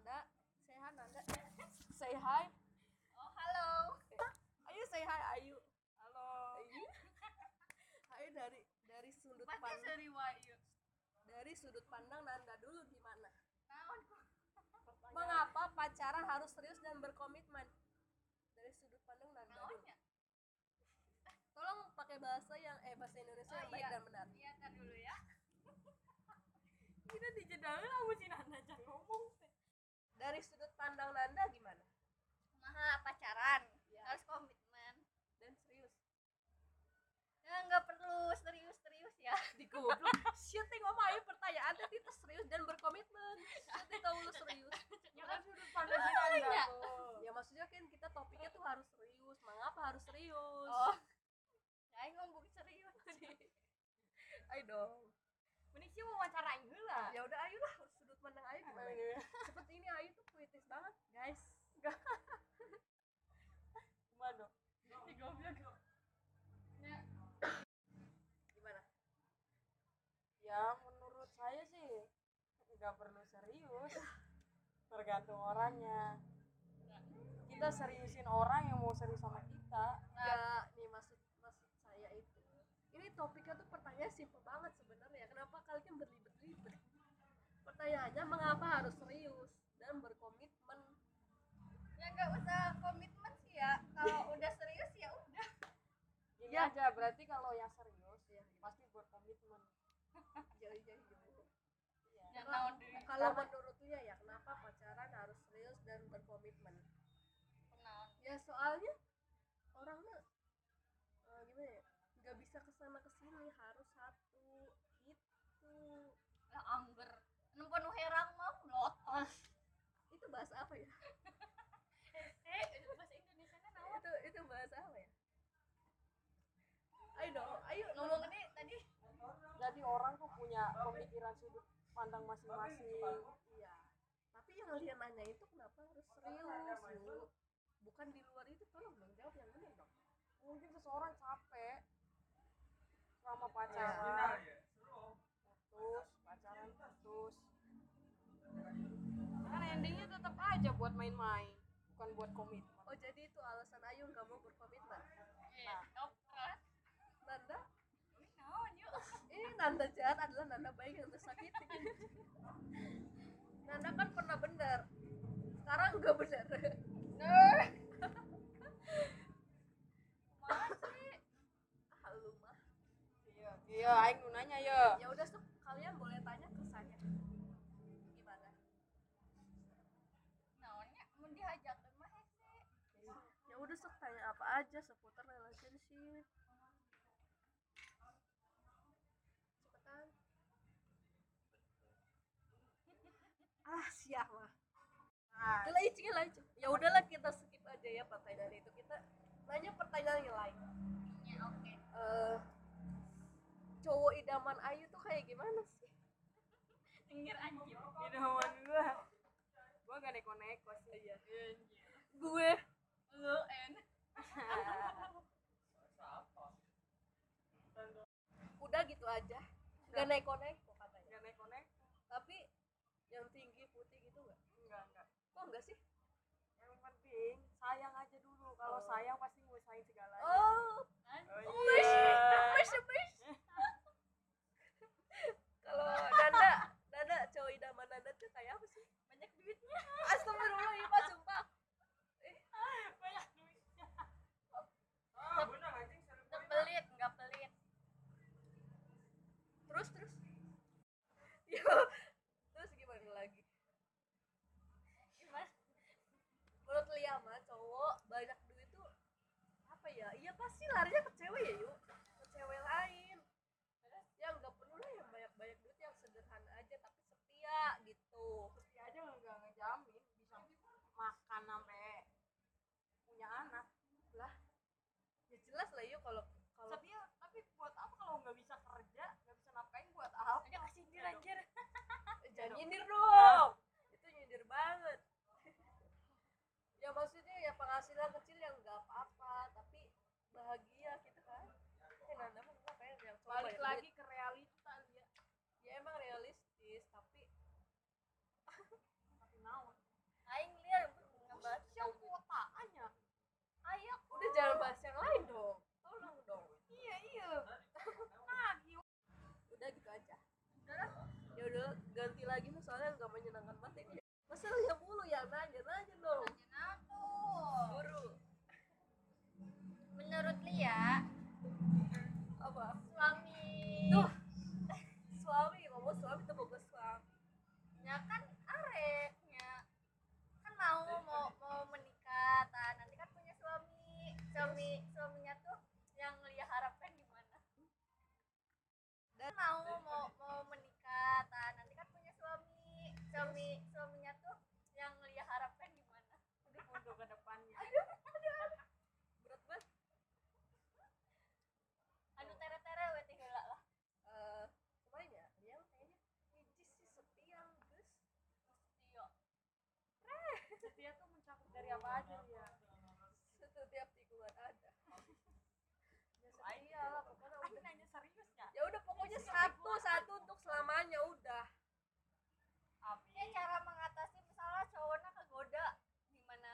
hi? Oh, halo. Ayo say hi Ayu. Halo. Ayu. Ayu dari dari sudut Pasti pandang dari Wayu. dari sudut pandang Nanda dulu gimana? Tahun Mengapa pacaran harus serius dan berkomitmen? Dari sudut pandang Nanda dulu. naonnya? Tolong pakai bahasa yang eh bahasa Indonesia Oh, yang baik iya. dan benar. Iya, tar dulu ya. Kita dijedain sama si Nanda jangan ngomong teh. Dari sudut pandang Nanda gimana? Maha pacaran, Ya. harus komitmen. Dan serius. Ya nggak perlu serius-serius ya. Digoblok. Shit, teh ngomong Ayu pertanyaan tadi teh serius dan berkomitmen. Shit, teh tahu lu serius. Ya kan sudut pandang si Nanda iya. tuh. Ya maksudnya kan kita topiknya tuh harus serius. Mengapa harus serius? Oh. Saya ngomong serius. Ayo dong. Mending sih wawancarain heula. ya udah Ayu lah sudut pandang Ayu gimana ya? seperti ini Ayu tuh puitis banget guys Gimana? Ini goblok. gimana Ya menurut saya sih nggak perlu serius. Tergantung orangnya. Kita seriusin orang yang mau serius sama kita. ya nih maksud maksud saya itu ini topiknya tuh pertanyaan simple banget sebenarnya kenapa kalian berlibet-libet pertanyaannya mengapa harus serius dan berkomitmen Ya nggak usah komitmen sih ya. Kalau udah serius ya udah. Gini Ya. aja berarti kalau yang serius ya pasti berkomitmen. jauh jauh jauh Iya. Jangan tahun diri. gitu kalau menurutnya ya kenapa pacaran harus serius dan berkomitmen Kenalan. ya soalnya orangnya eh, gimana ya nggak bisa kesana kesini harus satu itu Lah amber. Nemu penuh herang mah lotos. itu bahasa apa ya Eh, itu bahasa Indonesia kan awal. itu itu bahasa apa ya ayo dong ayo Ngomong tadi tadi Jadi orang tuh punya pemikiran sudut pandang masing-masing. iya tapi yang kalian nanya itu kenapa harus serius Yu? bukan di luar itu tolong dong jawab yang benar dong mungkin seseorang capek selama pacaran terus pacaran terus kan endingnya tetap aja buat main-main bukan buat komitmen oh jadi itu alasan Ayu nggak mau berkomitmen eh operan. Nanda Naon yuk. eh Nanda jahat adalah Nanda baik yang tersakiti Nanda kan pernah benar sekarang nggak benar Nerd. Iya, Kumaha sih? halo mah iya iya aing nu nanya ya ya udah Sup, kalian boleh tanya ke saya gimana Naonnya mun diajak teh mah hese. ya udah sok tanya apa aja seputar relationship cepetan ah siap lah nah, udah icing lah icing ya udahlah kita skip aja ya pertanyaan itu kita nanya pertanyaan yang lain Ya oke. Eh, cowok idaman Ayu tuh kayak gimana sih Pinggir anjir. idaman gua gua gak neko-neko sih ya gue Lu en. udah gitu aja gak neko-neko katanya gak neko-neko tapi yang tinggi putih gitu gak enggak enggak kok enggak sih yang penting sayang aja dulu kalau Oh. sayang pasti ngusahain segalanya oh Kan? Oh Mesya, mesya. Kalau Nanda, Nanda cowok idaman Nanda tuh kayak apa sih? Banyak duitnya. Astagfirullah, iya Pak, sumpah. banyak duitnya Teu pelit, enggak pelit. Terus, terus. Yuk, terus gimana lagi? Gimana? Menurut Lia mah cowok banyak duit tuh apa ya? Iya pasti larinya ke cewek ya, yuk. Ke cewek lain. Yang nggak perlu lah yang banyak-banyak duit yang sederhana aja tapi setia gitu. dia aja nggak ngejamin bisa makan sampai punya anak Ya jelas lah yuk kalau kalau setia tapi buat apa kalau nggak bisa kerja nggak bisa nafkain buat apa Udah kasih dia anjir. Eh, jangan nyindir dong itu nyindir banget ya maksudnya ya penghasilan kecil yang nggak apa-apa tapi bahagia gitu kan eh Nanda mah kenapa ya yang cowok balik banyak lagi ke realita dia duit? ya emang realistis tapi tapi naon Aing liar ngebahas cowok. gitu Ya udah ganti lagi nih soalnya nggak menyenangkan banget ini masa lihat mulu ya nanya nanya dong Nanya tuh. guru Menurut Lia, apa suami Duh. suami ngomong suami tuh bagus suami ya kan areknya kan mau mau mau menikah nah, nanti kan punya suami suami suaminya tuh yang Lia harapkan gimana dan mau mau mau menikah nah, nanti kan punya suami suami suaminya tuh yang Lia harapkan gimana untuk kedepannya berat banget aduh tere tere weh heula lah Eh, kemarin ya dia kayaknya hiji si setiang geus Tio setia tuh mencakup dari Oh, apa aja iya. ya setiap tikungan ada ya setia lah pokoknya udah nanya serius ya ya udah pokoknya satu satu untuk selamanya udah ya cara mengatasi misalnya cowoknya kegoda gimana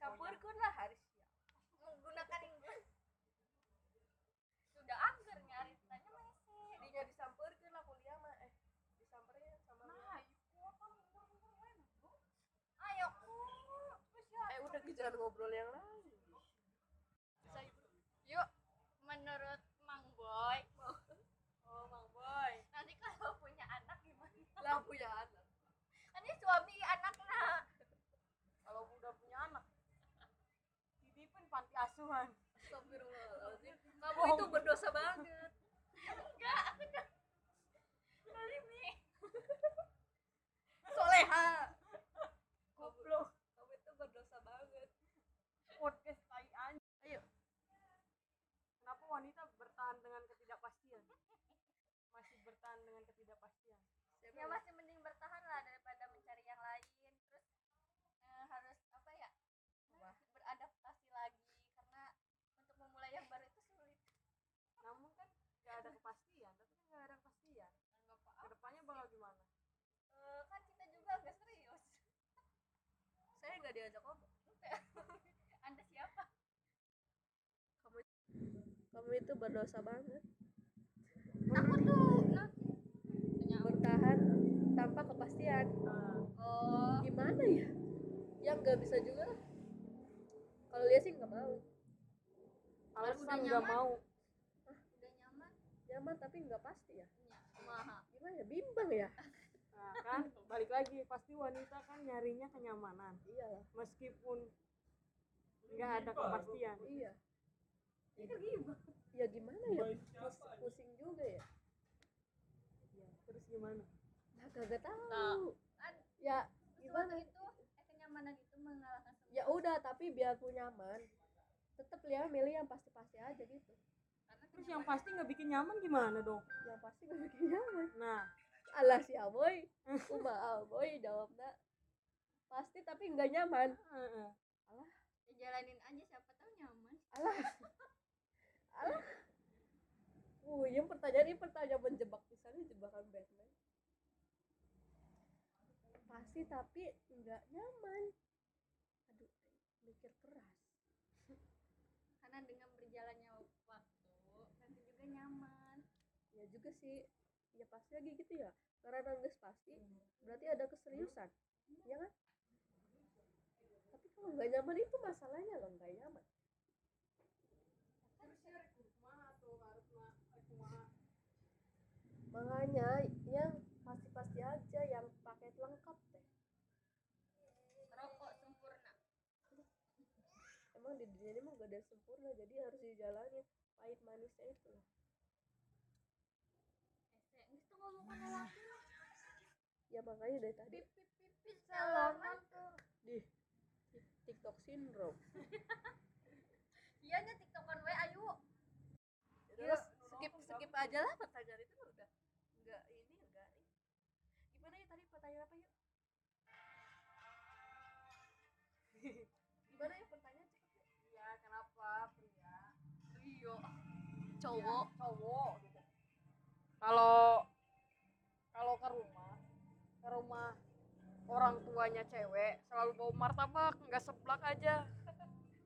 campurkan lah harusnya menggunakan Inggris sudah angker nyari tanya masih jadinya disamperkan lah kuliah mah eh disamperin sama nah itu apa mundur-mundur lain ayo ku eh udah ke jangan ngobrol yang lain yuk menurut Mang Boy oh mang boy nanti kalau punya anak gimana lah oh ya, punya anak nanti suami anaknya kalau udah punya anak titipin panti asuhan Astagfirullahaladzim kamu itu berdosa banget enggak aku udah kali nih soleha goblok kamu itu berdosa banget podcast tai anjing ayo kenapa wanita bertahan dengan ketidakpastian masih bertahan dengan ketidakpastian Siapa ya yang- masih mending bertahan lah daripada mencari yang lain terus eh, harus apa ya Wah. beradaptasi lagi karena untuk memulai yang baru itu sulit namun kan gak ada kepastian tapi kan gak ada kepastian nggak apa kedepannya bakal gimana Eh, kan kita juga agak serius saya nggak diajak ngomong anda siapa kamu kamu itu berdosa banget aku tuh nanti punya bertahan tanpa kepastian oh gimana ya yang nggak bisa juga lah. kalau dia sih nggak mau alasan udah gak nyaman. mau udah nyaman nyaman tapi nggak pasti ya punya maha gimana ya bimbang ya nah, kan balik lagi pasti wanita kan nyarinya kenyamanan iyalah meskipun nggak ada kepastian iya Iya, ya gimana ya Pus- pusing juga ya Ya, terus gimana nah kagak Nah. tahu ya gimana Gimana? itu eh, kenyamanan itu mengalahkan semua ya udah tapi biar aku nyaman tetap dia milih yang pasti-pasti aja gitu karena terus yang pasti nggak bikin nyaman gimana dong yang pasti gak bikin nyaman nah alah si aboy kumaha aboy jawabnya pasti tapi nggak nyaman eh, eh. ya jalanin aja siapa tahu nyaman alah alah uh yang pertanyaan ini pertanyaan menjebak misalnya jebakan Batman pasti tapi nggak nyaman aduh mikir keras karena dengan berjalannya waktu nanti juga nyaman ya juga sih ya pasti lagi gitu ya karena nangis pasti berarti ada keseriusan ya kan tapi kalau nggak nyaman itu masalahnya loh nggak nyaman makanya yang pasti-pasti aja yang paket lengkap deh rokok sempurna emang di dunia ini mah gak ada yang sempurna jadi harus dijalani pahit manisnya itu Ese, itu ngomong kena lagi ya makanya dari tadi pipis pipis salaman tuh di TikTok syndrome iya nya tiktokan we ayu terus iya, skip skip aja lah pertanyaan itu udah nggak ini nggak ini gimana ya tadi pertanyaan apa yuk gimana ya pertanyaan ya kenapa pria Iya, Rio cowok cowok gitu. kalau kalau ke rumah ke rumah orang tuanya cewek selalu bawa martabak nggak seblak aja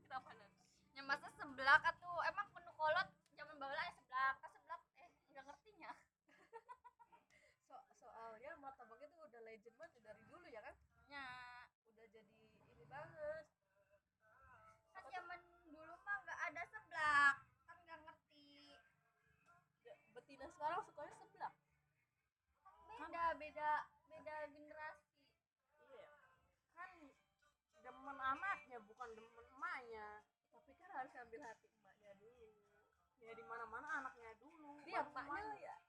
kenapa nan ya masa seblak atuh emang menu kolot ya, zaman bawala eh seblak kan seblak eh nggak ngertinya so soal ya kan? banget kan zaman dulu mah nggak ada seblak kan nggak ngerti Ya, betina sekarang sukanya sebelah beda beda beda generasi iya kan demen anaknya bukan demen emaknya tapi kan harus ambil hati emaknya dulu ya di mana mana anaknya dulu dia baru emaknya emaknya. ya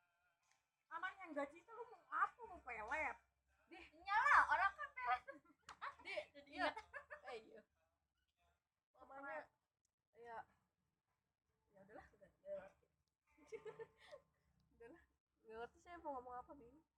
anak yang gaji itu lu mau apa mau pelet iyalah orang kan pelet dia dia eh iya mamanya ya ya udahlah udah nggak ngerti udahlah nggak ngerti saya mau ngomong apa bingung